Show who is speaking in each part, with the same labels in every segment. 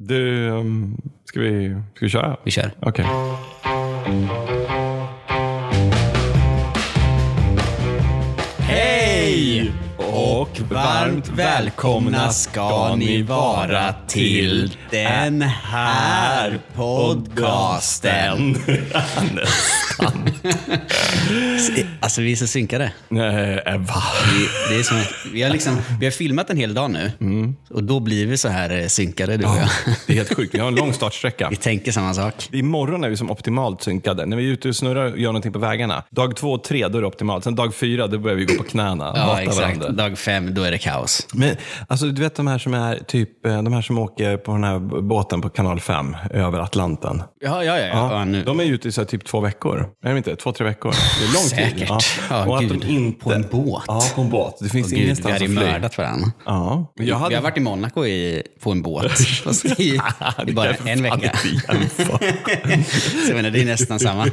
Speaker 1: Du, ehm, ska vi, ska vi köra?
Speaker 2: Vi kör.
Speaker 1: Okej.
Speaker 2: Hej! Och varmt välkomna ska ni vara till den här podcasten. Alltså vi är så synkade.
Speaker 1: Nej, Ebba.
Speaker 2: Vi, det är som, att- vi, har liksom, vi har filmat en hel dag nu och då blir vi så här eh, synkade du och jag.
Speaker 1: Det är helt sjukt. Vi har en lång startsträcka.
Speaker 2: Vi tänker samma sak.
Speaker 1: Imorgon är vi som optimalt synkade. När vi är ute och snurrar och gör någonting på vägarna. Dag två och tre, då är det optimalt. Sen dag fyra, då börjar vi gå på knäna. och
Speaker 2: Ja,
Speaker 1: hata
Speaker 2: exakt.
Speaker 1: varandra.
Speaker 2: Dag fem, då är det kaos.
Speaker 1: Men, alltså, du vet de här som är typ, eh, de här som åker på den här b- båten på kanal 5 över Atlanten.
Speaker 2: Ja, ja, ja. ja. nu.
Speaker 1: De är ute i så här, typ två veckor. Är de inte? Två, tre veckor. Det är lång tid.
Speaker 2: Säkert. Ja,
Speaker 1: och att
Speaker 2: gud.
Speaker 1: de inte...
Speaker 2: På en båt.
Speaker 1: Ja, på en båt. Det finns
Speaker 2: Gud, vi
Speaker 1: ingenstans
Speaker 2: hade ju
Speaker 1: att fly.
Speaker 2: mördat varandra.
Speaker 1: Ja. Men Jag
Speaker 2: Vi
Speaker 1: hade
Speaker 2: har varit i Monaco i, på en båt. Fast i, i bara en vecka. Så jag menar, det är nästan samma.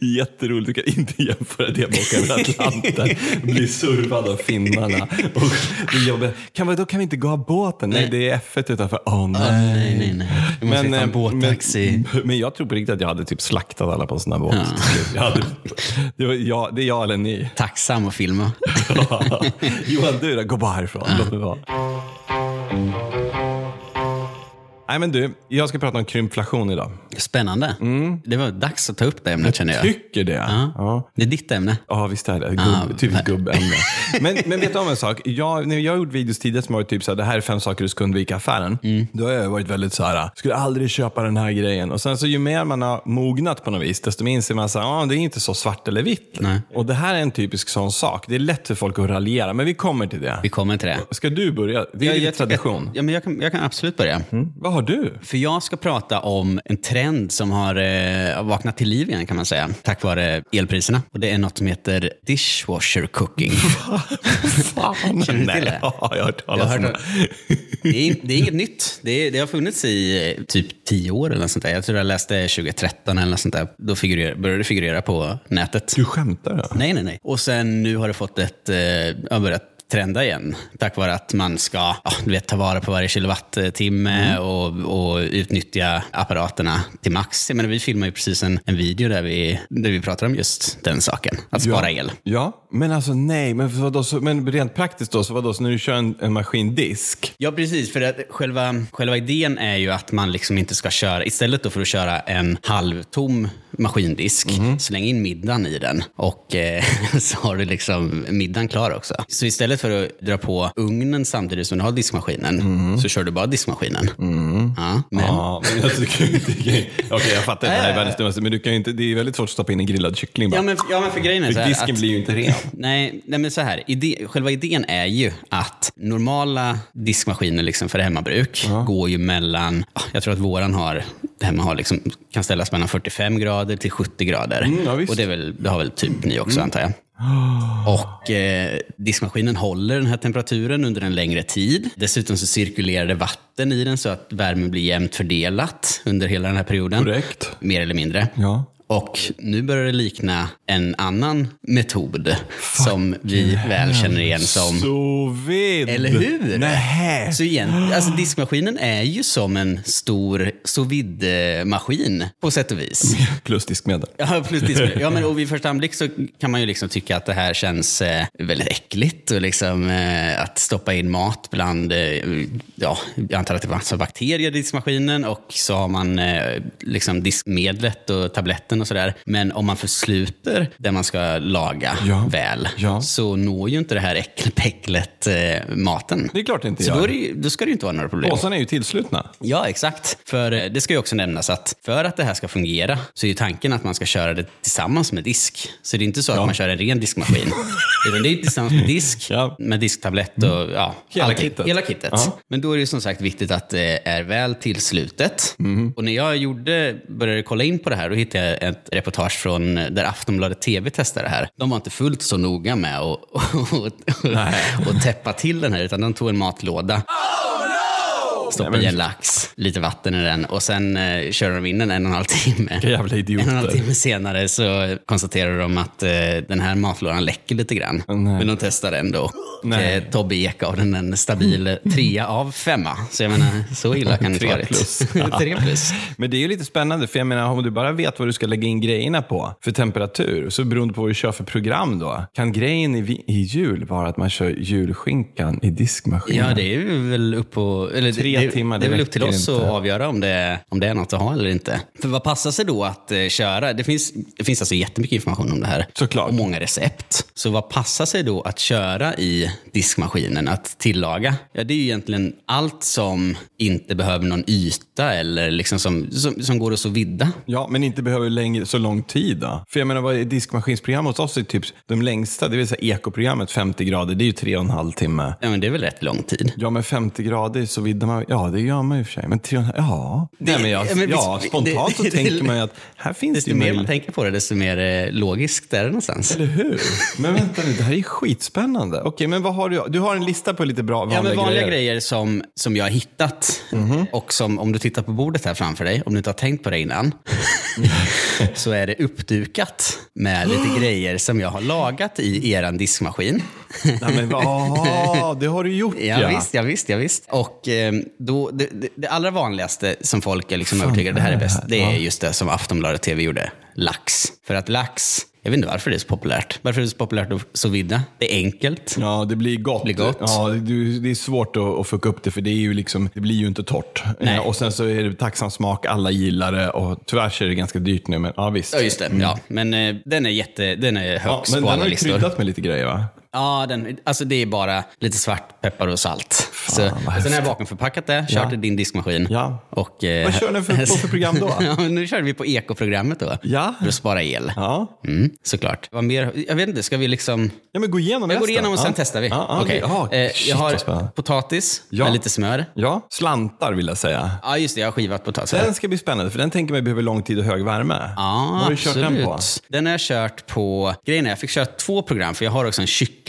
Speaker 1: Jätteroligt, du kan inte jämföra det med att åka över Atlanten och bli survad av finnarna. Och det jobbar. Kan, vi- då kan vi inte gå av båten? Nej, det är F1 utanför. Åh nej.
Speaker 2: Ah, Nej, nej, nej. Vi måste men, ta en
Speaker 1: eh,
Speaker 2: båttaxi.
Speaker 1: men, men jag tror på riktigt att jag hade typ slaktat alla på en sån här båt. till slut. Jag hade, det, var jag, det är jag eller ni.
Speaker 2: Tacksam och filma.
Speaker 1: Johan, du då? Gå bara härifrån. Låt mig vara. Nej, men du. Jag ska prata om krympflation idag.
Speaker 2: Spännande.
Speaker 1: Mm.
Speaker 2: Det var dags att ta upp det ämnet känner jag.
Speaker 1: Tycker det? Ja.
Speaker 2: Det är ditt ämne.
Speaker 1: Ja, visst är det. Gubb,
Speaker 2: Ah,
Speaker 1: typ gubbämne. Men, men vet du om en sak? Jag, när jag har gjort videos tidigare som har varit typ så här, det här är fem saker du ska undvika i affären.
Speaker 2: Mm.
Speaker 1: Då har jag varit väldigt så här, skulle aldrig köpa den här grejen. Och sen så ju mer man har mognat på något vis, desto mer inser man att ah, det är inte så svart eller vitt.
Speaker 2: Nej.
Speaker 1: Och det här är en typisk sån sak. Det är lätt för folk att raljera, men vi kommer till det.
Speaker 2: Vi kommer till det.
Speaker 1: Ska du börja? Det är
Speaker 2: Jag-
Speaker 1: din
Speaker 2: jag tycker
Speaker 1: tradition. Mm.
Speaker 2: att- Ja, men jag, kan, jag kan absolut börja.
Speaker 1: Vad har du?
Speaker 2: För jag ska prata om en trend som har eh, vaknat till liv igen kan man säga, tack vare elpriserna. Och det är något som heter dishwasher cooking.
Speaker 1: Fan.
Speaker 2: Känner du till
Speaker 1: Nej,
Speaker 2: det?
Speaker 1: Ja, jag har hört
Speaker 2: Jag
Speaker 1: talas
Speaker 2: har
Speaker 1: om det.
Speaker 2: hört Det är, det är inget nytt. Det, är, det har funnits i eh, typ tio år eller något sånt där. Jag tror jag läste 2013 eller något sånt där. Då figurer, började det figurera på nätet.
Speaker 1: Du skämtar? Då?
Speaker 2: Nej, nej, nej. Och sen nu har det fått ett, eh, har börjat trenda igen. Tack vare att man ska ja, du vet, ta vara på varje kilowattimme och, och utnyttja apparaterna till max. Jag menar, vi filmar ju precis en, en video där vi, där vi pratar om just den saken, att spara el.
Speaker 1: Ja, men alltså nej, men, vadå, så, men rent praktiskt då, så vadå, så när du kör en, en maskindisk,
Speaker 2: Ja, precis. För att själva, själva idén är ju att man liksom inte ska köra, istället då för att köra en halvtom maskindisk, släng in middagen i den och eh, så har du liksom middagen klar också. Så istället för att dra på ugnen samtidigt som du har diskmaskinen, så kör du bara diskmaskinen. Ja, men,
Speaker 1: Ja, men alltså, du kan ju inte... Okej, jag fattar att det här är världens dummaste, men du kan ju inte, det är väldigt svårt att stoppa in en grillad kyckling bara.
Speaker 2: ja, men, ja, men för grejen är så här
Speaker 1: Disken
Speaker 2: att-
Speaker 1: blir ju inte ren.
Speaker 2: Nej, nej men så här. Ide, själva idén är ju att normala diskmaskiner liksom för hemmabruk går ju mellan, ah, jag tror att våran har, hemma har liksom, kan ställas mellan 45 grader till 70 grader.
Speaker 1: Mm, ja, visst. Mm.
Speaker 2: och det, är väl, det har väl typ ni också antar jag. Och eh, diskmaskinen håller den här temperaturen under en längre tid. Dessutom så cirkulerar det vatten i den så att värmen blir jämnt fördelat under hela den här perioden.
Speaker 1: Korrekt.
Speaker 2: Mer eller mindre.
Speaker 1: Ja.
Speaker 2: Och nu börjar det likna en annan metod som vi väl känner igen som...
Speaker 1: Så vid.
Speaker 2: Eller hur?
Speaker 1: Nähä.
Speaker 2: Så igen, alltså diskmaskinen är ju som en stor sous vide-maskin på sätt och vis.
Speaker 1: Plus diskmedel.
Speaker 2: Ja, plus diskmaskin. ja, men och vid första anblick så kan man ju liksom tycka att det här känns eh, väldigt äckligt och liksom, eh, att stoppa in mat bland, eh, ja, jag antar att det var massa bakterier i diskmaskinen och så har man eh, liksom diskmedlet och tabletten och sådär. Men om man försluter det man ska laga
Speaker 1: Ja.
Speaker 2: väl
Speaker 1: Ja.
Speaker 2: så når ju inte det här äckel- äcklet eh, maten.
Speaker 1: Det är klart det inte
Speaker 2: Så då, är
Speaker 1: gör.
Speaker 2: det, ju- då ska det ju inte vara några problem.
Speaker 1: Påsarna är ju tillslutna.
Speaker 2: Ja, exakt. För eh, det ska ju också nämnas att för att det här ska fungera så är ju tanken att man ska köra det tillsammans med disk. Så det är inte så att man kör en ren diskmaskin. utan det är tillsammans med disk,
Speaker 1: Ja. Mm.
Speaker 2: med disktablett och ja,
Speaker 1: Hela
Speaker 2: allting.
Speaker 1: kittet.
Speaker 2: Hela kittet.
Speaker 1: Ja.
Speaker 2: Men då är det ju som sagt viktigt att det är väl tillslutet.
Speaker 1: Mm-hmm.
Speaker 2: Och när jag gjorde, började kolla in på det här, då hittade jag ett reportage från eh, där Aftonbladet TV testade det här. De var inte fullt så noga med att och, och, och, täppa till den här, utan de tog en matlåda Stoppa
Speaker 1: men-
Speaker 2: i en lax, lite vatten i den och sen eh, kör de in den en och en halv timme.
Speaker 1: Vilka jävla idioter.
Speaker 2: En och en halv timme senare så konstaterar de att eh, den här matlådan läcker lite grann.
Speaker 1: nej.
Speaker 2: Men de testar ändå.
Speaker 1: Nej.
Speaker 2: Eh, Tobbe Ekavlen den en stabil eh, trea av femma. Så jag menar, så illa kan det inte
Speaker 1: Tre
Speaker 2: varit.
Speaker 1: plus.
Speaker 2: Tre plus.
Speaker 1: Men det är ju lite spännande, för jag menar om du bara vet vad du ska lägga in grejerna på för temperatur, så beroende på vad du kör för program då, kan grejen i, vi- i jul vara att man kör julskinkan i diskmaskinen?
Speaker 2: Ja, det är ju väl upp, på, eller,
Speaker 1: Mm. Tre
Speaker 2: det,
Speaker 1: timmar,
Speaker 2: det är
Speaker 1: det
Speaker 2: väl upp till
Speaker 1: räcker
Speaker 2: oss
Speaker 1: inte.
Speaker 2: att avgöra om det, om det är något att ha eller inte. För vad passar sig då att eh, köra? Det finns, det finns alltså jättemycket information om det här.
Speaker 1: Såklart.
Speaker 2: Och många recept. Så vad passar sig då att köra i diskmaskinen, att tillaga? Ja, det är ju egentligen allt som inte behöver någon yta eller liksom som, som, som går att så vidda.
Speaker 1: Ja, men inte behöver längre, så lång tid då. För jag menar, vad är diskmaskinsprogram hos oss är typ de längsta, det vill säga ekoprogrammet 50 grader, det är ju tre och en halv timme.
Speaker 2: Ja, men det är väl rätt lång tid.
Speaker 1: Ja, men 50 grader så viddar man, ja det gör man i och för sig, men tre och en halv, ja. Nej, men jag,
Speaker 2: ja, men
Speaker 1: ja,
Speaker 2: visst-
Speaker 1: spontant
Speaker 2: det-
Speaker 1: så
Speaker 2: det-
Speaker 1: tänker man ju att här finns det
Speaker 2: Desto
Speaker 1: ju
Speaker 2: mer
Speaker 1: möjlighet.
Speaker 2: man tänker på det, desto mer eh, logiskt är det någonstans.
Speaker 1: Eller hur? Men vänta nu, det här är ju skitspännande. Okej, men vad har du? Du har en lista på lite bra vanliga,
Speaker 2: Ja, men vanliga grejer, Mhm.
Speaker 1: grejer.
Speaker 2: som, som jag har hittat och som om du tittar på bordet här framför dig, om du inte har tänkt på det innan, så är det uppdukat med lite grejer som jag har lagat i eran diskmaskin.
Speaker 1: Nej, men vad- aha, det har du gjort
Speaker 2: Ja,
Speaker 1: ja.
Speaker 2: Visst, ja, visst, ja, visst. Och eh, då, det, det, det allra vanligaste som folk är liksom övertygade det här är bäst, det är just det som Aftonbladet TV gjorde, lax. För att lax, jag vet inte varför det är så populärt. Varför är det så populärt att sous vide? Det är enkelt.
Speaker 1: Ja, det blir gott.
Speaker 2: Blir gott.
Speaker 1: Ja, det, det är svårt att, att fucka upp det för det, är ju liksom, det blir ju inte torrt.
Speaker 2: Nej.
Speaker 1: Ja, och sen så är det tacksam smak, alla gillar det och tyvärr så är det ganska dyrt nu. Men ja, visst.
Speaker 2: Ja, just det. Ja. Men eh, den är, jätte, den är
Speaker 1: Mm. Ja,
Speaker 2: högst
Speaker 1: men
Speaker 2: på
Speaker 1: den
Speaker 2: alla
Speaker 1: har ju
Speaker 2: listor.
Speaker 1: kryddat med lite grejer va?
Speaker 2: Ja, den, alltså det är bara lite svartpeppar och salt. så,
Speaker 1: vad
Speaker 2: och sen har jag
Speaker 1: häftigt.
Speaker 2: vakuumförpackat det, kört
Speaker 1: Ja.
Speaker 2: det i din diskmaskin.
Speaker 1: Ja.
Speaker 2: Och, eh,
Speaker 1: Vad kör ni för- på för program då?
Speaker 2: ja, men nu körde vi på ekoprogrammet då.
Speaker 1: Ja.
Speaker 2: För att spara el.
Speaker 1: Ja.
Speaker 2: Mm, såklart. Vad mer? Jag vet inte, ska vi liksom...
Speaker 1: ja, men gå igenom
Speaker 2: Jag går
Speaker 1: resten.
Speaker 2: igenom och sen
Speaker 1: ja.
Speaker 2: testar vi.
Speaker 1: Ja, ja,
Speaker 2: Okej.
Speaker 1: okej. Ja,
Speaker 2: Eh,
Speaker 1: shit,
Speaker 2: jag
Speaker 1: vad
Speaker 2: har
Speaker 1: spännande.
Speaker 2: potatis
Speaker 1: Ja.
Speaker 2: med lite smör.
Speaker 1: Ja, slantar vill jag säga.
Speaker 2: Ja, just det. Jag har skivat potatis.
Speaker 1: Den ska bli spännande för den tänker man behöver lång tid och hög värme.
Speaker 2: Ja,
Speaker 1: Vad har du kört
Speaker 2: absolut.
Speaker 1: den på?
Speaker 2: Den har jag kört på... Grejen är, jag fick köra två program, för jag har också en kyckling.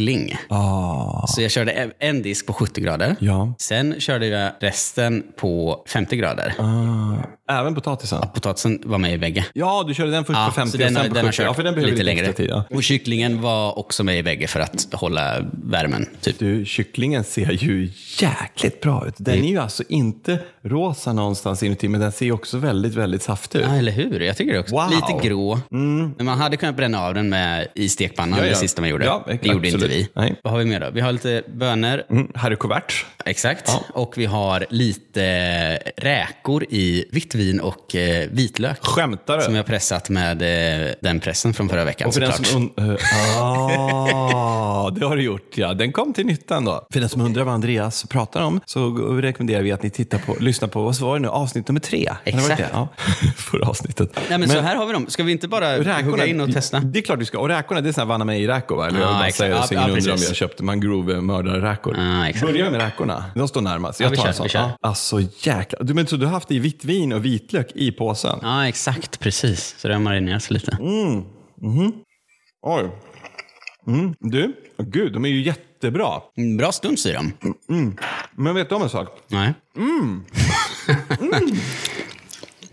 Speaker 1: Ah.
Speaker 2: Så jag körde en- en disk på 70 grader.
Speaker 1: Ja.
Speaker 2: Sen körde jag resten på 50 grader.
Speaker 1: Ah. Även potatisen?
Speaker 2: Potatisen var med i bägge.
Speaker 1: Ja, du körde den först
Speaker 2: Ja,
Speaker 1: på 50
Speaker 2: så
Speaker 1: och
Speaker 2: den, har-
Speaker 1: sen på
Speaker 2: den har
Speaker 1: 70.
Speaker 2: kört
Speaker 1: ja, för den behöver
Speaker 2: lite
Speaker 1: lite,
Speaker 2: längre.
Speaker 1: extra tid. Ja.
Speaker 2: Och kycklingen var också med i bägge för att hålla värmen. Typ.
Speaker 1: Du, kycklingen ser ju jäkligt bra ut.
Speaker 2: Mm.
Speaker 1: Den är ju alltså inte rosa någonstans inuti, men den ser ju också väldigt, väldigt saftig ut.
Speaker 2: Ja, eller hur? Jag tycker det också.
Speaker 1: Wow. Mm.
Speaker 2: Lite grå. Men man hade kunnat bränna av den med i stekpannan,
Speaker 1: Ja, ja.
Speaker 2: det sista man gjorde.
Speaker 1: Ja,
Speaker 2: det gjorde inte
Speaker 1: absolut.
Speaker 2: vi.
Speaker 1: Nej.
Speaker 2: Vad har vi mer då? Vi har lite bönor,
Speaker 1: Mm, här är kuvert.
Speaker 2: exakt. Och vi har lite eh, räkor i vitt vin och eh, vitlök.
Speaker 1: Skämtar
Speaker 2: Som
Speaker 1: du?
Speaker 2: jag pressat med eh, den pressen från förra veckan
Speaker 1: Och för den
Speaker 2: såklart.
Speaker 1: som und- eh, ah, det har du gjort ja. Den kom till nytta ändå. För den som undrar vad Andreas pratar om så g- rekommenderar vi att ni tittar på, lyssnar på, vad var det nu, avsnitt nummer tre? Kan det ha varit
Speaker 2: Exakt.
Speaker 1: det? Ja. Förra avsnittet.
Speaker 2: Nej, men, så här har vi dem. Ska vi inte bara hugga in och testa?
Speaker 1: Det är klart du ska. Och räkorna, det är såna här Vanna Mey-räkor va? Eller
Speaker 2: Ja,
Speaker 1: jag vill bara
Speaker 2: exakt.
Speaker 1: säga
Speaker 2: Ja,
Speaker 1: så ingen
Speaker 2: ja,
Speaker 1: undrar om
Speaker 2: precis.
Speaker 1: jag köpte mangrove-mördarräkor.
Speaker 2: Ja, exakt.
Speaker 1: Börja med räkorna. De står närmast.
Speaker 2: Ja,
Speaker 1: Jag
Speaker 2: vi
Speaker 1: tar
Speaker 2: kör,
Speaker 1: en sån.
Speaker 2: vi kör.
Speaker 1: Ja. Alltså jäklar. Du, men, så du har haft i vitt vin och vitlök i påsen?
Speaker 2: Ja, exakt. Precis. Så det har marinerats lite.
Speaker 1: Oj. Mm. Du, åh, gud, de är ju jättebra.
Speaker 2: Mm. Bra stuns i dem.
Speaker 1: Men vet du om en sak?
Speaker 2: Nej.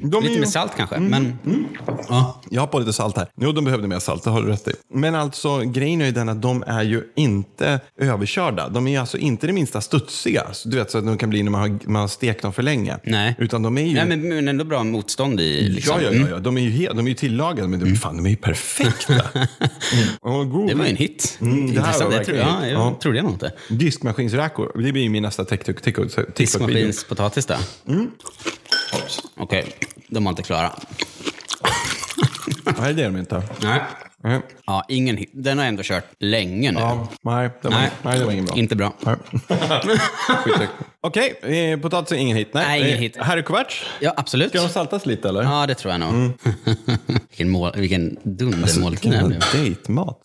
Speaker 1: De är
Speaker 2: Lite
Speaker 1: ju...
Speaker 2: med salt kanske,
Speaker 1: Mm.
Speaker 2: men... Ja.
Speaker 1: Jag har på lite salt här. Jo, de behövde mer salt, det har du rätt i. Men alltså, grejen är ju den att de är ju inte överkörda. De är ju alltså inte det minsta studsiga. Så Du vet, så att de kan bli när man har, man har stekt dem för länge.
Speaker 2: Nej.
Speaker 1: Utan de är ju...
Speaker 2: Nej, men, men ändå bra motstånd i... Liksom. Mm.
Speaker 1: Ja, ja, ja, ja. De är ju, helt, de är ju tillagade, men de, fan, de är ju perfekta. Mm. Ja, god.
Speaker 2: Det var ju en hit.
Speaker 1: Mm, det här
Speaker 2: Intressant.
Speaker 1: var
Speaker 2: Jag tror,
Speaker 1: verkligen
Speaker 2: ja,
Speaker 1: hit.
Speaker 2: jag
Speaker 1: Ja.
Speaker 2: trodde jag nog inte.
Speaker 1: Diskmaskinsräkor. Det blir ju min nästa TikTok- TikTok- TikTok-video.
Speaker 2: Diskmaskinspotatis då?
Speaker 1: Mm.
Speaker 2: Okej, de var inte klara.
Speaker 1: Nej, det är de inte.
Speaker 2: Nej.
Speaker 1: Nej,
Speaker 2: Ja, ingen hit. Den har jag ändå kört länge nu.
Speaker 1: ja, nej, det var,
Speaker 2: Nej.
Speaker 1: nej. det var ingen bra.
Speaker 2: Inte bra.
Speaker 1: Nej. Skitäckligt. Okej, eh, potatis är ingen hit. Nej,
Speaker 2: Nej, ingen
Speaker 1: Eh,
Speaker 2: hit.
Speaker 1: Här är kuvert.
Speaker 2: Ja, absolut.
Speaker 1: Ska de saltas lite eller?
Speaker 2: Ja, det tror jag nog.
Speaker 1: Mm. Alltså,
Speaker 2: vilken mål, vilken dundermåltid det här
Speaker 1: Vilken
Speaker 2: blev.
Speaker 1: dejtmat.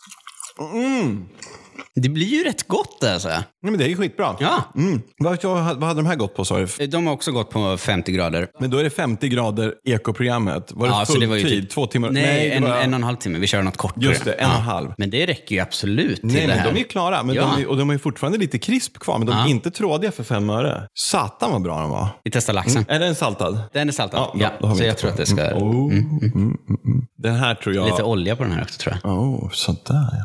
Speaker 2: Det blir ju rätt gott alltså.
Speaker 1: Nej, men det är ju skitbra.
Speaker 2: Ja.
Speaker 1: Mm. Vad, vad hade de här gått på sa du?
Speaker 2: De har också gått på 50 grader.
Speaker 1: Men då är det 50 grader ekoprogrammet. Var det
Speaker 2: Ja, så det var ju
Speaker 1: fulltid?
Speaker 2: typ-
Speaker 1: Två timmar?
Speaker 2: Nej,
Speaker 1: det
Speaker 2: en,
Speaker 1: var-
Speaker 2: en och en halv timme. Vi kör något kortare.
Speaker 1: Just det, en och en
Speaker 2: Ja.
Speaker 1: halv.
Speaker 2: Men det räcker ju absolut till
Speaker 1: Nej,
Speaker 2: det
Speaker 1: men
Speaker 2: här.
Speaker 1: de är ju klara. Men
Speaker 2: Ja.
Speaker 1: de är, och de är fortfarande lite krisp kvar, men de är inte trådiga för fem öre. Satan vad bra de var.
Speaker 2: Vi testar laxen.
Speaker 1: Är den saltad?
Speaker 2: Den är saltad.
Speaker 1: Mm. Ja,
Speaker 2: Ja,
Speaker 1: bra. Då har vi
Speaker 2: Så jag
Speaker 1: inte
Speaker 2: tror att det ska...
Speaker 1: Oh. Mm, mm, mm. Den här tror jag...
Speaker 2: Lite olja på den här också tror jag.
Speaker 1: Oh, sådär ja.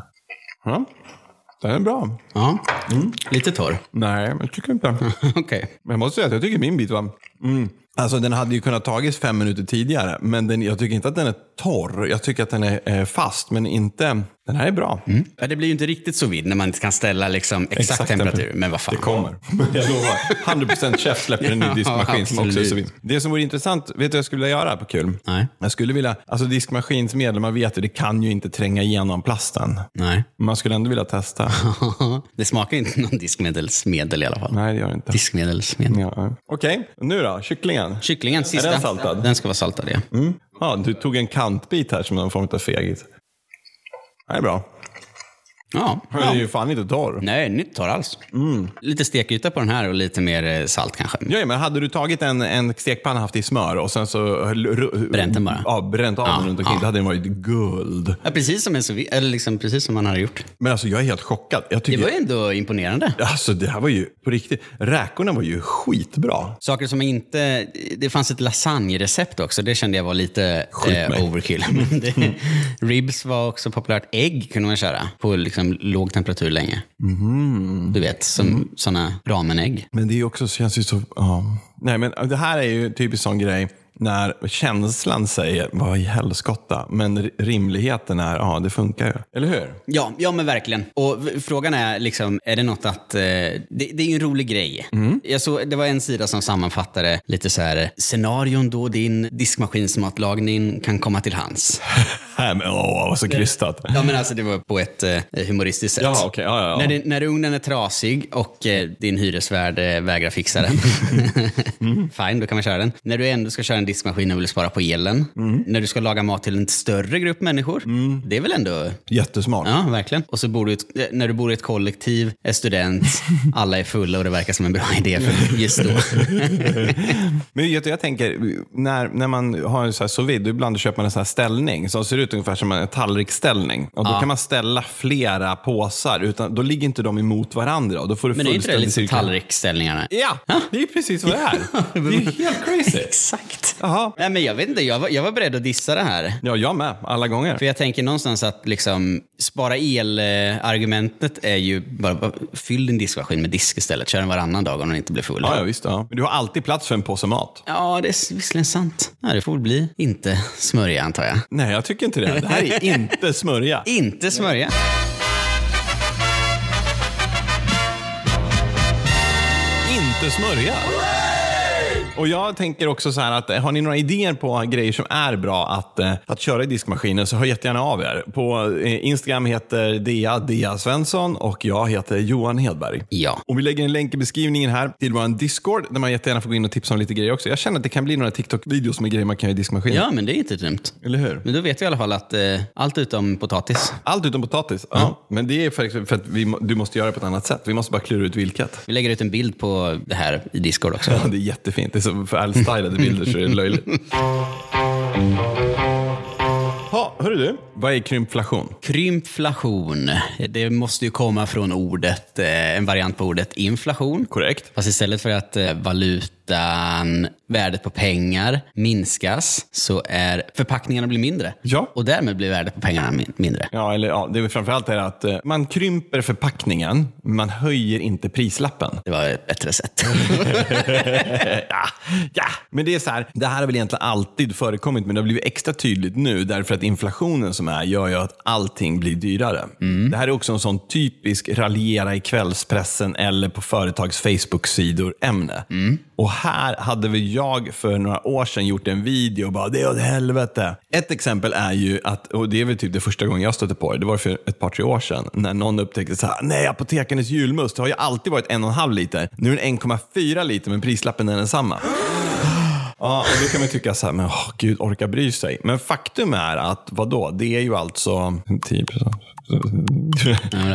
Speaker 1: ja. Den är bra.
Speaker 2: Ja. Lite torr.
Speaker 1: Nej, men jag tycker inte.
Speaker 2: Okej.
Speaker 1: Men jag måste säga att jag tycker min bit var... Mm. Alltså den hade ju kunnat tagits fem minuter tidigare, men den, jag tycker inte att den är torr. Jag tycker att den är eh, fast, men inte... Den här är bra.
Speaker 2: Ja, det blir ju inte riktigt så vid när man inte kan ställa liksom Mm. exakt,
Speaker 1: Exakt
Speaker 2: temperatur.
Speaker 1: temperatur.
Speaker 2: Men vad fan.
Speaker 1: Det kommer. Jag lovar. 100% chef släpper en ny diskmaskin som också är så fin. Det som vore intressant, vet du vad jag skulle vilja göra på kul?
Speaker 2: Nej.
Speaker 1: Jag skulle vilja, alltså diskmaskins medlemmar vet ju, det kan ju inte tränga igenom plasten.
Speaker 2: Nej.
Speaker 1: Man skulle ändå vilja testa.
Speaker 2: det smakar ju inte någon diskmedelsmedel i alla fall.
Speaker 1: Nej, det gör det inte.
Speaker 2: Diskmedelsmedel.
Speaker 1: Ja, ja. Okej, nu då? Kycklingen?
Speaker 2: Kycklingen, sista.
Speaker 1: den saltad?
Speaker 2: Den ska vara saltad, ja.
Speaker 1: Mm. Ja, du tog en kantbit här som någon form av fegis. Det är bra.
Speaker 2: Ja.
Speaker 1: Den är ju fan inte torr.
Speaker 2: Nej, nytt tar alls. Lite stekyta på den här och lite mer eh, salt kanske.
Speaker 1: Mm. Ja, men hade du tagit en, en stekpanna haft i smör och sen så...
Speaker 2: Bränt den bara.
Speaker 1: Ja, bränt av den runt omkring.
Speaker 2: ja.
Speaker 1: Då hade den varit guld.
Speaker 2: Ja, precis som en sous vide- eller liksom precis som man hade gjort.
Speaker 1: Men alltså jag är helt chockad. Jag
Speaker 2: Det
Speaker 1: tycker,
Speaker 2: var ju ändå imponerande.
Speaker 1: Alltså det här var ju på riktigt. Räkorna var ju skitbra.
Speaker 2: Saker som inte... Det fanns ett lasagnerecept också. Det kände jag var lite
Speaker 1: Skjut mig.
Speaker 2: eh, overkill. Men det, ribs var också populärt. Ägg kunde man köra på liksom låg temperatur länge.
Speaker 1: Mhm.
Speaker 2: Du vet, som sådana ramenägg.
Speaker 1: Men det är ju också, känns ju så... Ja. Nej men det här är ju typiskt sån grej när känslan säger vad i helskotta. Men r- rimligheten är, ja det funkar ju. Eller hur?
Speaker 2: Ja, ja men verkligen. Och v- frågan är, liksom, är det något att... Eh, det, det är ju en rolig grej.
Speaker 1: Mhm.
Speaker 2: Jag såg, det var en sida som sammanfattade lite så här, scenarion då din diskmaskinsmatlagning kan komma till hands.
Speaker 1: Nej men åh, vad så krystat.
Speaker 2: Ja, men alltså det var på ett eh, humoristiskt sätt.
Speaker 1: Ja, okej. Ja, ja, ja.
Speaker 2: När, din, när ugnen är trasig och eh, din hyresvärd eh, vägrar fixa den. Fine, då kan man köra den. När du ändå ska köra en diskmaskin och vill spara på elen. När du ska laga mat till en större grupp människor. Det är väl ändå
Speaker 1: Jättesmart.
Speaker 2: Ja, verkligen. Och så bor du i ett, eh, när du bor i ett kollektiv, är student, alla är fulla och det verkar som en bra idé för just då.
Speaker 1: Men jag, jag tänker, när, när man har en så här sous vide, ibland köper man en sån här ställning som ser ut ungefär som en tallriksställning. Och då kan man ställa flera påsar, utan, då ligger inte de emot varandra. Och då får du
Speaker 2: Men är inte det
Speaker 1: fullständig
Speaker 2: lite
Speaker 1: cirkel.
Speaker 2: tallriksställningarna?
Speaker 1: Ja, det är ju precis vad det är. Det är ju helt crazy.
Speaker 2: Exakt.
Speaker 1: Jaha.
Speaker 2: Nej, men jag vet inte, jag var, jag var beredd att dissa det här.
Speaker 1: Ja, jag med. Alla gånger.
Speaker 2: För jag tänker någonstans att liksom, spara el-argumentet är ju bara, bara fyll din diskmaskin med disk istället. Kör den varannan dag om den inte blir full.
Speaker 1: Ja, ja visst. Ja. Men du har alltid plats för en påse mat.
Speaker 2: Ja, det är s- visserligen sant. Ja, det får väl bli inte smörja antar jag.
Speaker 1: Nej, jag tycker inte det. Det här är inte smörja.
Speaker 2: Inte smörja.
Speaker 1: Inte smörja. Och jag tänker också så här att eh, har ni några idéer på grejer som är bra att, eh, att köra i diskmaskinen så hör jättegärna av er. På eh, Instagram heter Dea Dea Svensson och jag heter Johan Hedberg.
Speaker 2: Ja.
Speaker 1: Och vi lägger en länk i beskrivningen här till vår Discord där man jättegärna får gå in och tipsa om lite grejer också. Jag känner att det kan bli några TikTok-videos med grejer man kan göra i diskmaskinen.
Speaker 2: Ja, men det är inte dumt.
Speaker 1: Eller hur?
Speaker 2: Men då vet vi i alla fall att eh, allt utom potatis.
Speaker 1: Allt utom potatis. Ja. Men det är för, för att vi, må- du måste göra det på ett annat sätt. Vi måste bara klura ut vilket.
Speaker 2: Vi lägger ut en bild på det här i Discord också.
Speaker 1: Ja, det är jättefint. Det är så för allstylade bilder så är det löjligt. Ha, hörru du. Vad är krympflation?
Speaker 2: Krympflation, det måste ju komma från ordet, eh, en variant på ordet inflation.
Speaker 1: Korrekt.
Speaker 2: Fast istället för att eh, valutan, värdet på pengar minskas så är förpackningarna blir mindre.
Speaker 1: Ja.
Speaker 2: Och därmed blir värdet på pengarna min- mindre.
Speaker 1: Ja, eller ja, det är väl framförallt är att eh, man krymper förpackningen, men man höjer inte prislappen.
Speaker 2: Det var ett bättre sätt.
Speaker 1: ja, ja, men det är så här. Det här har väl egentligen alltid förekommit, men det har blivit extra tydligt nu därför att inflationen som är gör ju att allting blir dyrare. Det här är också en sån typisk raljera i kvällspressen eller på företags Facebook-sidor ämne. Och här hade väl jag för några år sedan gjort en video och bara det är åt helvete. Ett exempel är ju att, och det är väl typ det första gången jag stötte på det, det var för ett par tre år sedan, när någon upptäckte så här, nej apotekarnas julmust har ju alltid varit en och en halv liter, nu är den 1,4 liter men prislappen är densamma. Ja, och då kan man tycka så här, men åh, gud, orka bry sig. Men faktum är att, vadå, det är ju alltså 10 procent.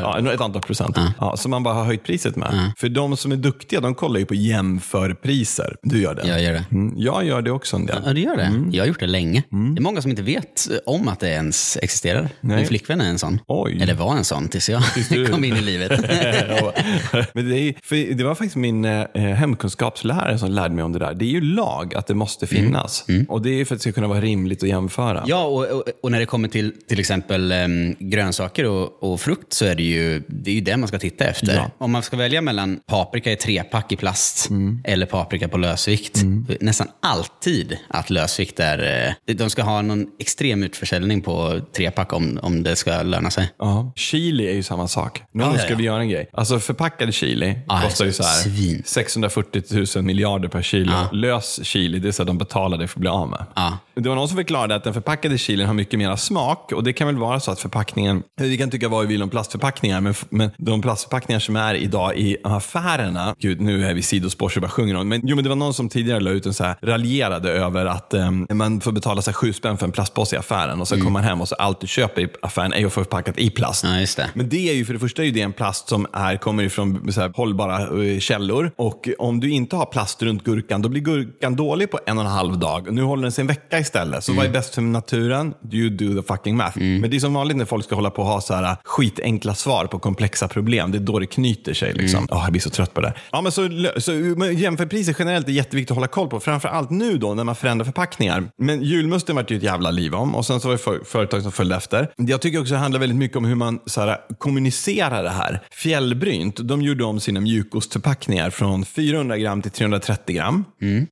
Speaker 1: ja, ett antal procent. Ja, som man bara har höjt priset med. För de som är duktiga, de kollar ju på jämförpriser. Du gör det.
Speaker 2: Jag gör det.
Speaker 1: Mm, jag gör det också en del.
Speaker 2: Ja, det gör det.
Speaker 1: Mm.
Speaker 2: Jag har gjort det länge. Det är många som inte vet eh, om att det ens existerar. Min flickvän är en sån.
Speaker 1: Oj.
Speaker 2: Eller var en sån tills jag
Speaker 1: du-
Speaker 2: kom in i livet.
Speaker 1: Jag bara- Men det, är, ju- för det var faktiskt min eh, hemkunskapslärare som lärde mig om det där. Det är ju lag att det måste finnas. Och det är ju för att det ska kunna vara rimligt att jämföra.
Speaker 2: Mm. Ja, och, och, och när det kommer till till exempel em, grönsaker och, och frukt så är det ju det, är ju det man ska titta efter.
Speaker 1: Ja.
Speaker 2: Om man ska välja mellan paprika i trepack i plast eller paprika på lösvikt, nästan alltid att lösvikt är... eh, De ska ha någon extrem utförsäljning på trepack om, om det ska löna sig.
Speaker 1: Ja. Chili är ju samma sak. Någon
Speaker 2: Ja, ja, ja.
Speaker 1: skulle göra en grej. Alltså förpackad chili
Speaker 2: Ah,
Speaker 1: kostar ju så här
Speaker 2: svin.
Speaker 1: 640 000 miljarder per kilo. Lös chili, det är så att de betalar det för att bli av med.
Speaker 2: Ja.
Speaker 1: Det var någon som förklarade att den förpackade chilin har mycket mera smak och det kan väl vara så att förpackningen, vi kan tycka vad vi vill om plastförpackningar, men, f- men de plastförpackningar som är idag i affärerna, gud nu är vi sidospår så jag bara sjunger om, men jo men det var någon som tidigare la ut en så här, raljerade över att em, man får betala så här, sju spänn för en plastpåse i affären och så kommer man hem och så allt du köper i affären är ju förpackat i plast.
Speaker 2: Mm. Ja, just det.
Speaker 1: Men det är ju för det första är ju det en plast som är, kommer ifrån så här, hållbara eh, källor. Och om du inte har plast runt gurkan, då blir gurkan dålig på en och en halv dag. Nu håller den sig en vecka istället. Så vad
Speaker 2: Mm.
Speaker 1: är bäst för naturen? You do the fucking math. Men det är som vanligt när folk ska hålla på och ha så här, eh, skitenkla svar på komplexa problem. Det är då det knyter sig. Liksom.
Speaker 2: Mm.
Speaker 1: Ah, jag blir så trött på det där. Ja, men så, lö- så, men jämförpriser generellt är jätteviktigt att hålla koll på. Framförallt nu då när man förändrar förpackningar. Men julmusten vart ju ett jävla liv om och sen så var det för, företag som följde efter. Jag tycker också det handlar väldigt mycket om hur man så här, kommunicerar det här. Fjällbrynt, de gjorde om sina mjukostförpackningar från 400 gram till 330 gram.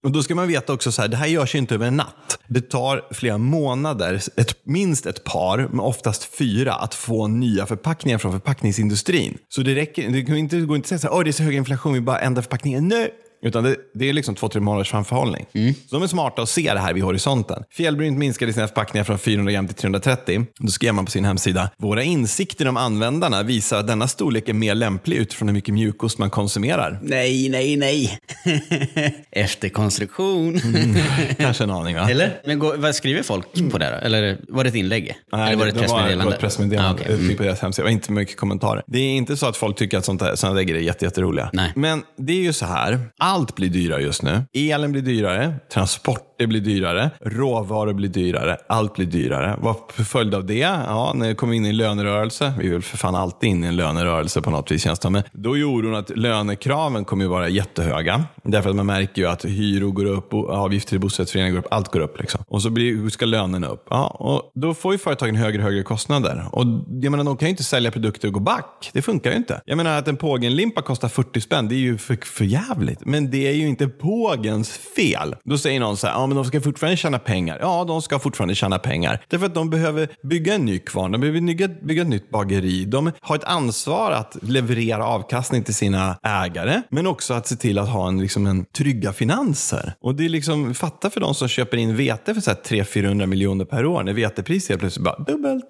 Speaker 1: Och då ska man veta också så här, det här görs ju inte över en natt. Det tar flera månader, ett, minst ett par, men oftast fyra, att få nya förpackningar från förpackningsindustrin. Så det räcker det går inte, det går inte att säga så här, "Åh, det är så hög inflation, vi bara ändrar förpackningen. Nej! Utan det, det är liksom två, tre månaders framförhållning. Så de är smarta och ser det här vid horisonten. Fjällbrynt minskade sina förpackningar från 400 gram till 330. Då skrev man på sin hemsida. Våra insikter om användarna visar att denna storlek är mer lämplig utifrån hur mycket mjukost man konsumerar.
Speaker 2: Nej, nej, nej. Mm. Efterkonstruktion.
Speaker 1: Kanske en aning va?
Speaker 2: Eller? Men gå, vad skriver folk på det då? Eller var det ett inlägg? Eller var Mm. det ett pressmeddelande?
Speaker 1: Det var ett pressmeddelande
Speaker 2: Ah, okej.
Speaker 1: eh, typ på deras hemsida. Det var inte mycket kommentarer. Det är inte så att folk tycker att sånt här, såna där grejer är jätte, jätteroliga.
Speaker 2: Nej.
Speaker 1: Men det är ju så här. Allt blir dyrare just nu. Elen blir dyrare. Transporter blir dyrare. Råvaror blir dyrare. Allt blir dyrare. Vad för följd av det? Ja, när vi kommer in i en lönerörelse. Vi vill för fan alltid in i en lönerörelse på något vis känns det. Men då är ju oron att lönekraven kommer ju vara jättehöga. Därför att man märker ju att hyror går upp, och avgifter i bostadsrättsföreningar går upp, allt går upp. Liksom. Och så blir, ska lönerna upp. Ja, och då får ju företagen högre och högre kostnader. Och jag menar, de kan ju inte sälja produkter och gå back. Det funkar ju inte. Jag menar att en Pågenlimpa kostar 40 spänn, det är ju för, för jävligt. Men det är ju inte Pågens fel. Då säger någon så här, ja men de ska fortfarande tjäna pengar. Ja, de ska fortfarande tjäna pengar. Därför att de behöver bygga en ny kvarn, de behöver bygga, bygga ett nytt bageri. De har ett ansvar att leverera avkastning till sina ägare, men också att se till att ha en, liksom en trygga finanser. Och det är liksom, fatta för de som köper in vete för så här 300-400 miljoner per år, när vetepriset helt plötsligt bara dubbelt.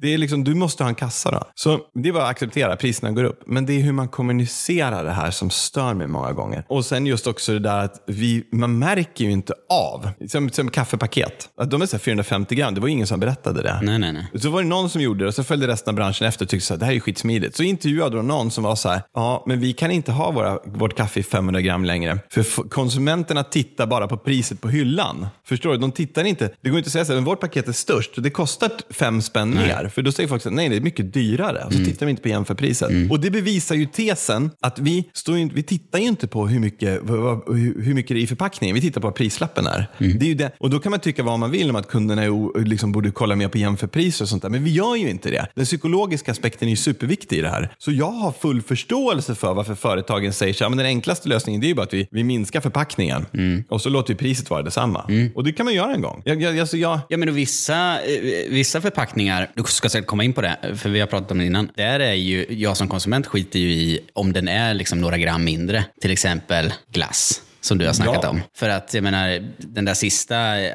Speaker 1: Det är liksom, du måste ha en kassa då. Så det är bara att acceptera, priserna går upp. Men det är hur man kommunicerar det här som stör mig många gånger. Och sen just också det där att vi, man märker ju inte av, som, som kaffepaket, att de är så här 450 gram, det var ju ingen som berättade det.
Speaker 2: Nej, nej, nej.
Speaker 1: Så var det någon som gjorde det och så följde resten av branschen efter och tyckte så här, det här är ju skitsmidigt. Så intervjuade de någon som var så här, ja men vi kan inte ha våra, vårt kaffe i 500 gram längre. För f- konsumenterna tittar bara på priset på hyllan. Förstår du? De tittar inte, det går inte att säga så här, men vårt paket är störst och det kostar t- fem spänn mer. För då säger folk så här, nej det är mycket dyrare. Och så tittar de inte på jämförpriset. Och det bevisar ju tesen att vi, står ju, inte- vi tittar ju inte på hur mycket, vad- vad- hur hur mycket det är i förpackningen. Vi tittar på vad prislappen är.
Speaker 2: Mm.
Speaker 1: Det är ju det. Och då kan man tycka vad man vill om att kunderna är o, liksom borde kolla mer på jämförpriser och sånt där. Men vi gör ju inte det. Den psykologiska aspekten är ju superviktig i det här. Så jag har full förståelse för varför företagen säger så här, "Ja, men den enklaste lösningen det är ju bara att vi, vi minskar förpackningen
Speaker 2: Mm.
Speaker 1: och så låter vi priset vara detsamma. Och det kan man göra en gång. Jag, jag, alltså jag,
Speaker 2: Ja, men och vissa, eh, vissa förpackningar, du ska säkert komma in på det, för vi har pratat om det innan. Där är ju, jag som konsument skiter ju i om den är liksom några gram mindre. Till exempel glass. som du har snackat
Speaker 1: Ja.
Speaker 2: om. För att jag menar, den där sista eh,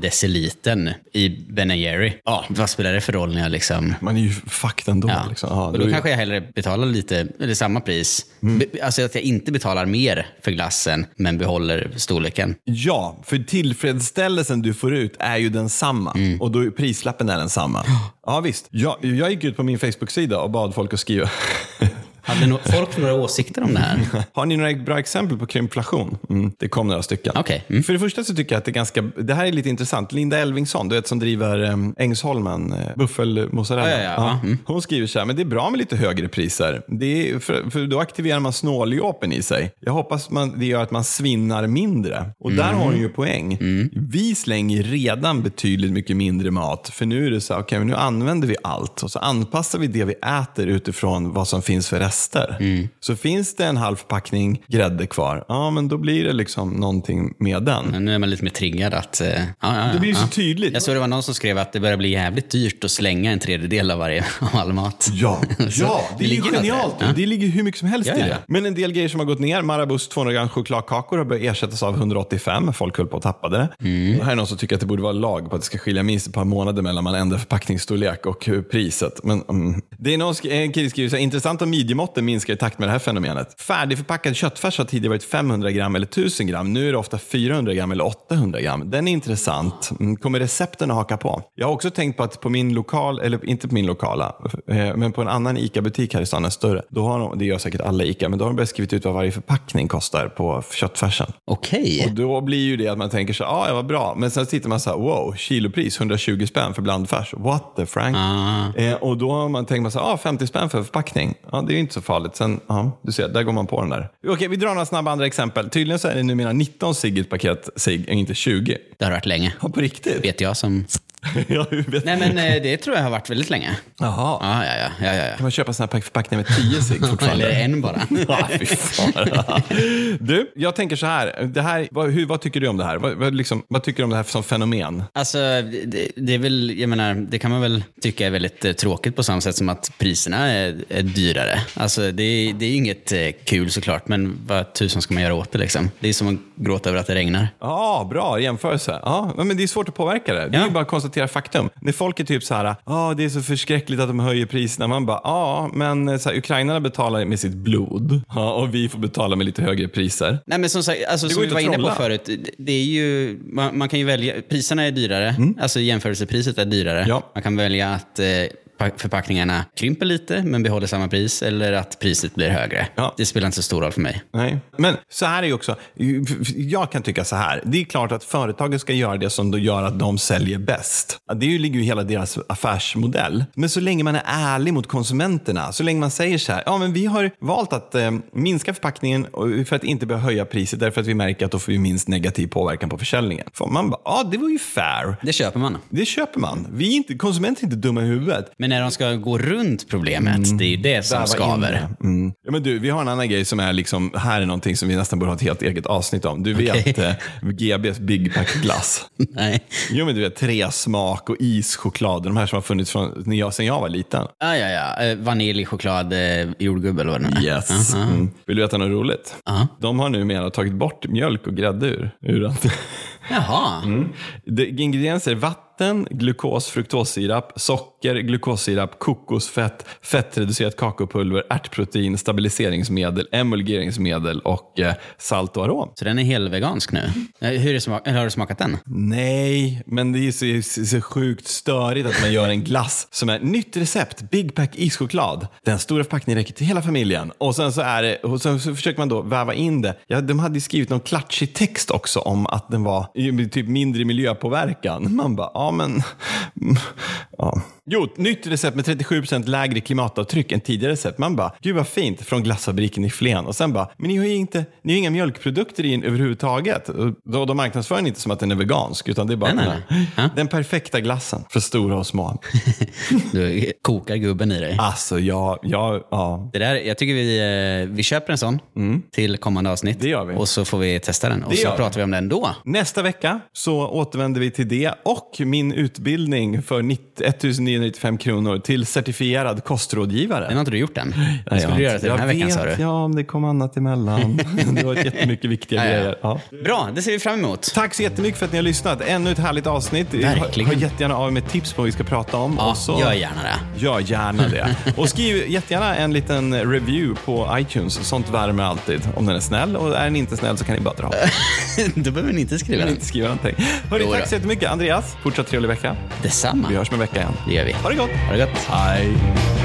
Speaker 2: halvdecilitern i Ben Jerry, ja. vad spelar det för roll när jag liksom
Speaker 1: Man är ju fucked ändå.
Speaker 2: Ja.
Speaker 1: Liksom. Ja, Mm.
Speaker 2: och
Speaker 1: det
Speaker 2: då
Speaker 1: var ju-
Speaker 2: kanske jag hellre betalar lite, eller samma pris. Be- Alltså att jag inte betalar mer för glassen, men behåller storleken.
Speaker 1: Ja, för tillfredsställelsen du får ut är ju densamma.
Speaker 2: Mm.
Speaker 1: Och då är prislappen är densamma. Ja, visst. Jag, jag gick ut på min Facebook-sida och bad folk att skriva.
Speaker 2: Hade no- folk några åsikter om det här?
Speaker 1: Har ni några bra exempel på krympflation? Mm, det kom några stycken.
Speaker 2: Okej, mm.
Speaker 1: För det första så tycker jag att det är ganska, det här är lite intressant. Linda Elvingsson, du vet som driver um, Ängsholmen, eh, buffelmozzarella.
Speaker 2: Ja, ja, ja. Mm. Ja,
Speaker 1: Hon skriver så här, men det är bra med lite högre priser. Det är, för, för då aktiverar man snåljåpen i sig. Jag hoppas man, det gör att man svinnar mindre. Och där har hon
Speaker 2: Mm.
Speaker 1: ju poäng. Vi slänger redan betydligt mycket mindre mat. För nu är det så här, okej, men nu använder vi allt. Och så anpassar vi det vi äter utifrån vad som finns för rester.
Speaker 2: Mm.
Speaker 1: Så finns det en halv packning grädde kvar, ja men då blir det liksom någonting med den.
Speaker 2: Men nu är man lite mer triggad att... eh, ja, ja, ja,
Speaker 1: Det blir ju
Speaker 2: ja.
Speaker 1: så tydligt.
Speaker 2: Jag såg det var någon som skrev att det börjar bli jävligt dyrt att slänga en tredjedel av varje av all mat.
Speaker 1: Ja, ja
Speaker 2: Så
Speaker 1: det är ju
Speaker 2: ligger något där.
Speaker 1: genialt. Det ligger hur mycket som helst
Speaker 2: Ja,
Speaker 1: i
Speaker 2: ja.
Speaker 1: det. Men en del grejer som har gått ner, Marabous 200 gram chokladkakor har börjat ersättas av 185. Folk höll på att tappa det.
Speaker 2: Mm.
Speaker 1: Och Här är någon som tycker att det borde vara lag på att det ska skilja minst ett par månader mellan man ändrar förpackningsstorlek och hur priset. Men, mm. Det är någon, sk- en kille skriver så här, intressant om midjemåtten minskar i takt med det här fenomenet. Färdigförpackad köttfärs har tidigare varit 500 gram eller 1000 gram. Nu är det ofta 400 gram eller 800 gram. Den är intressant. Mm, Kommer recepten att haka på? Jag har också tänkt på att på min lokal, eller inte på min lokala, eh, men på en annan ICA-butik här i stan, en större, då har de, det gör säkert alla ICA, men då har de börjat skrivit ut vad varje förpackning kostar på köttfärsen.
Speaker 2: Okej.
Speaker 1: Och då blir ju det att man tänker så här, ah, ja vad bra. Men sen tittar man så här, wow, kilopris 120 spänn för blandfärs. What the frank?
Speaker 2: Ah.
Speaker 1: Eh, och då har man tänker man så här, ah, 50 spänn för förpackning. Ja, det är ju inte så farligt. Sen, ja, du ser, där går man på den där. Okej, vi drar några snabba andra exempel. Tydligen så är det numera 19 cigg i ett paket cigg, eh, inte 20.
Speaker 2: Det har varit länge.
Speaker 1: Ja, på riktigt?
Speaker 2: Vet jag som...
Speaker 1: ja, hur vet
Speaker 2: Nej men eh, det tror jag har varit väldigt länge.
Speaker 1: Jaha.
Speaker 2: Ja, ja, ja. ja, ja,
Speaker 1: Kan man köpa såna här förpackningar med 10 cigg
Speaker 2: ja. Eller
Speaker 1: fortfarande?
Speaker 2: en bara.
Speaker 1: Ja, fy fan. Du, jag tänker så här. Det här vad, hur, vad tycker du om det här? Vad, vad, liksom, vad tycker du om det här som fenomen?
Speaker 2: Alltså, det, det är väl, jag menar, det kan man väl tycka är väldigt eh, tråkigt på samma sätt som att priserna är, är dyrare. Alltså, det, är- det är ju inget eh, kul såklart, men vad tusan ska man göra åt det liksom? Det är som att gråta över att det regnar.
Speaker 1: Ja, bra jämförelse. Ja, men det är svårt att påverka det. Det är
Speaker 2: Ja.
Speaker 1: ju bara att konstatera faktum. När folk är typ så här, ja det är så förskräckligt att de höjer priserna. Man bara, ja, men så här, ukrainarna betalar med sitt blod ja, och vi får betala med lite högre priser.
Speaker 2: Nej men som sagt, alltså,
Speaker 1: Det
Speaker 2: som
Speaker 1: går
Speaker 2: vi
Speaker 1: inte att
Speaker 2: var inne på
Speaker 1: trolla.
Speaker 2: förut, det- det är ju, man, man kan ju välja, priserna är dyrare, alltså jämförelsepriset är dyrare.
Speaker 1: Mm. Ja.
Speaker 2: Man kan välja att eh, pa- förpackningarna krymper lite men behåller samma pris eller att priset blir högre.
Speaker 1: Ja.
Speaker 2: Det spelar inte så stor roll för mig.
Speaker 1: Nej. Men så här är ju också, jag kan tycka så här. Det är klart att företagen ska göra det som då gör att de säljer bäst. Det är ju- ligger ju i hela deras affärsmodell. Men så länge man är ärlig mot konsumenterna, så länge man säger så här, ja men vi har valt att eh, minska förpackningen och- för att inte behöva höja priset därför att vi märker att då får vi minst negativ påverkan på försäljningen. Får man bara, ja det var ju fair.
Speaker 2: Det köper man.
Speaker 1: Det köper man. Vi är inte, konsumenter är inte dumma i huvudet.
Speaker 2: Men när de ska gå runt problemet, det är ju det som
Speaker 1: Mm. Där var
Speaker 2: skaver.
Speaker 1: inne. Mm. Ja, men du, vi har en annan grej som är liksom, här är någonting som vi nästan borde ha ett helt eget avsnitt om. Du vet eh, GBs Big Pack glass.
Speaker 2: Nej.
Speaker 1: jo men du vet, tre smak och ischoklad, de här som har funnits från, när jag, sen jag var liten.
Speaker 2: Ah, ja, ja. Eh, Vanilj, choklad, eh, jordgubbe eller vad det nu är.
Speaker 1: Yes. Mm. Vill du veta något roligt?
Speaker 2: Aha.
Speaker 1: De har numera tagit bort mjölk och grädde ur. ur allt.
Speaker 2: Jaha.
Speaker 1: Mm. Det- Ingredienser är vatten, glukos, fruktossirap, socker, glukossirap, kokosfett, fettreducerat kakaopulver, ärtprotein, stabiliseringsmedel, emulgeringsmedel och eh, salt och arom.
Speaker 2: Så den är helvegansk nu. Eh, Hur är det smak- eller har du smakat den?
Speaker 1: Nej, men det är ju så, så sjukt störigt att man gör en glass som är nytt recept, Big Pack ischoklad. Den stora förpackningen räcker till hela familjen. Och sen så, är det, och sen så försöker man då väva in det. Ja, de hade ju skrivit någon klatschig text också om att den var ju typ mindre miljöpåverkan. Man bara, ja men... Ja. Jo, nytt recept med 37% lägre klimatavtryck än tidigare recept. Man bara, gud vad fint, från glassfabriken i Flen. Och sen bara, men ni har ju inte, ni har inga mjölkprodukter i den överhuvudtaget. Och Då, de marknadsför den inte som att den är vegansk, utan det är bara
Speaker 2: Nej,
Speaker 1: den,
Speaker 2: nej,
Speaker 1: här, den perfekta glassen för stora och små.
Speaker 2: Du eh, kokar gubben i dig.
Speaker 1: Alltså, jag, jag, ja.
Speaker 2: Det där, jag tycker vi, eh, vi köper en sån till kommande avsnitt.
Speaker 1: Mm. Det gör vi.
Speaker 2: Och så får vi testa den. Och
Speaker 1: Det
Speaker 2: så
Speaker 1: gör vi.
Speaker 2: pratar vi om den då.
Speaker 1: Nästa vecka så återvänder vi till det och min utbildning för 90 1900 495 kronor till certifierad kostrådgivare.
Speaker 2: Den har inte du gjort än. Det skulle du göra till den här veckan sa
Speaker 1: Jag vet,
Speaker 2: du.
Speaker 1: ja, men det kom annat emellan. det var jättemycket viktiga
Speaker 2: Ja, ja.
Speaker 1: grejer. Ja.
Speaker 2: Bra, det ser vi fram emot.
Speaker 1: Tack så jättemycket för att ni har lyssnat. Ännu ett härligt avsnitt.
Speaker 2: Verkligen.
Speaker 1: Hör jättegärna av er med tips på vad vi ska prata om.
Speaker 2: Ja,
Speaker 1: och så...
Speaker 2: Gör gärna det.
Speaker 1: Gör gärna det. Och skriv jättegärna en liten review på iTunes. Sånt värmer alltid. Om den är snäll. Och är den inte snäll så kan ni bara dra.
Speaker 2: Då behöver ni inte skriva
Speaker 1: Jag vill
Speaker 2: den.
Speaker 1: inte skriva någonting. Hörni,
Speaker 2: Jo då.
Speaker 1: tack så jättemycket. Andreas, fortsatt trevlig vecka. Vi
Speaker 2: Detsamma.
Speaker 1: hörs om en vecka igen.
Speaker 2: Det gör vi.
Speaker 1: Ha det gott!
Speaker 2: Ha det gott.
Speaker 1: Hej!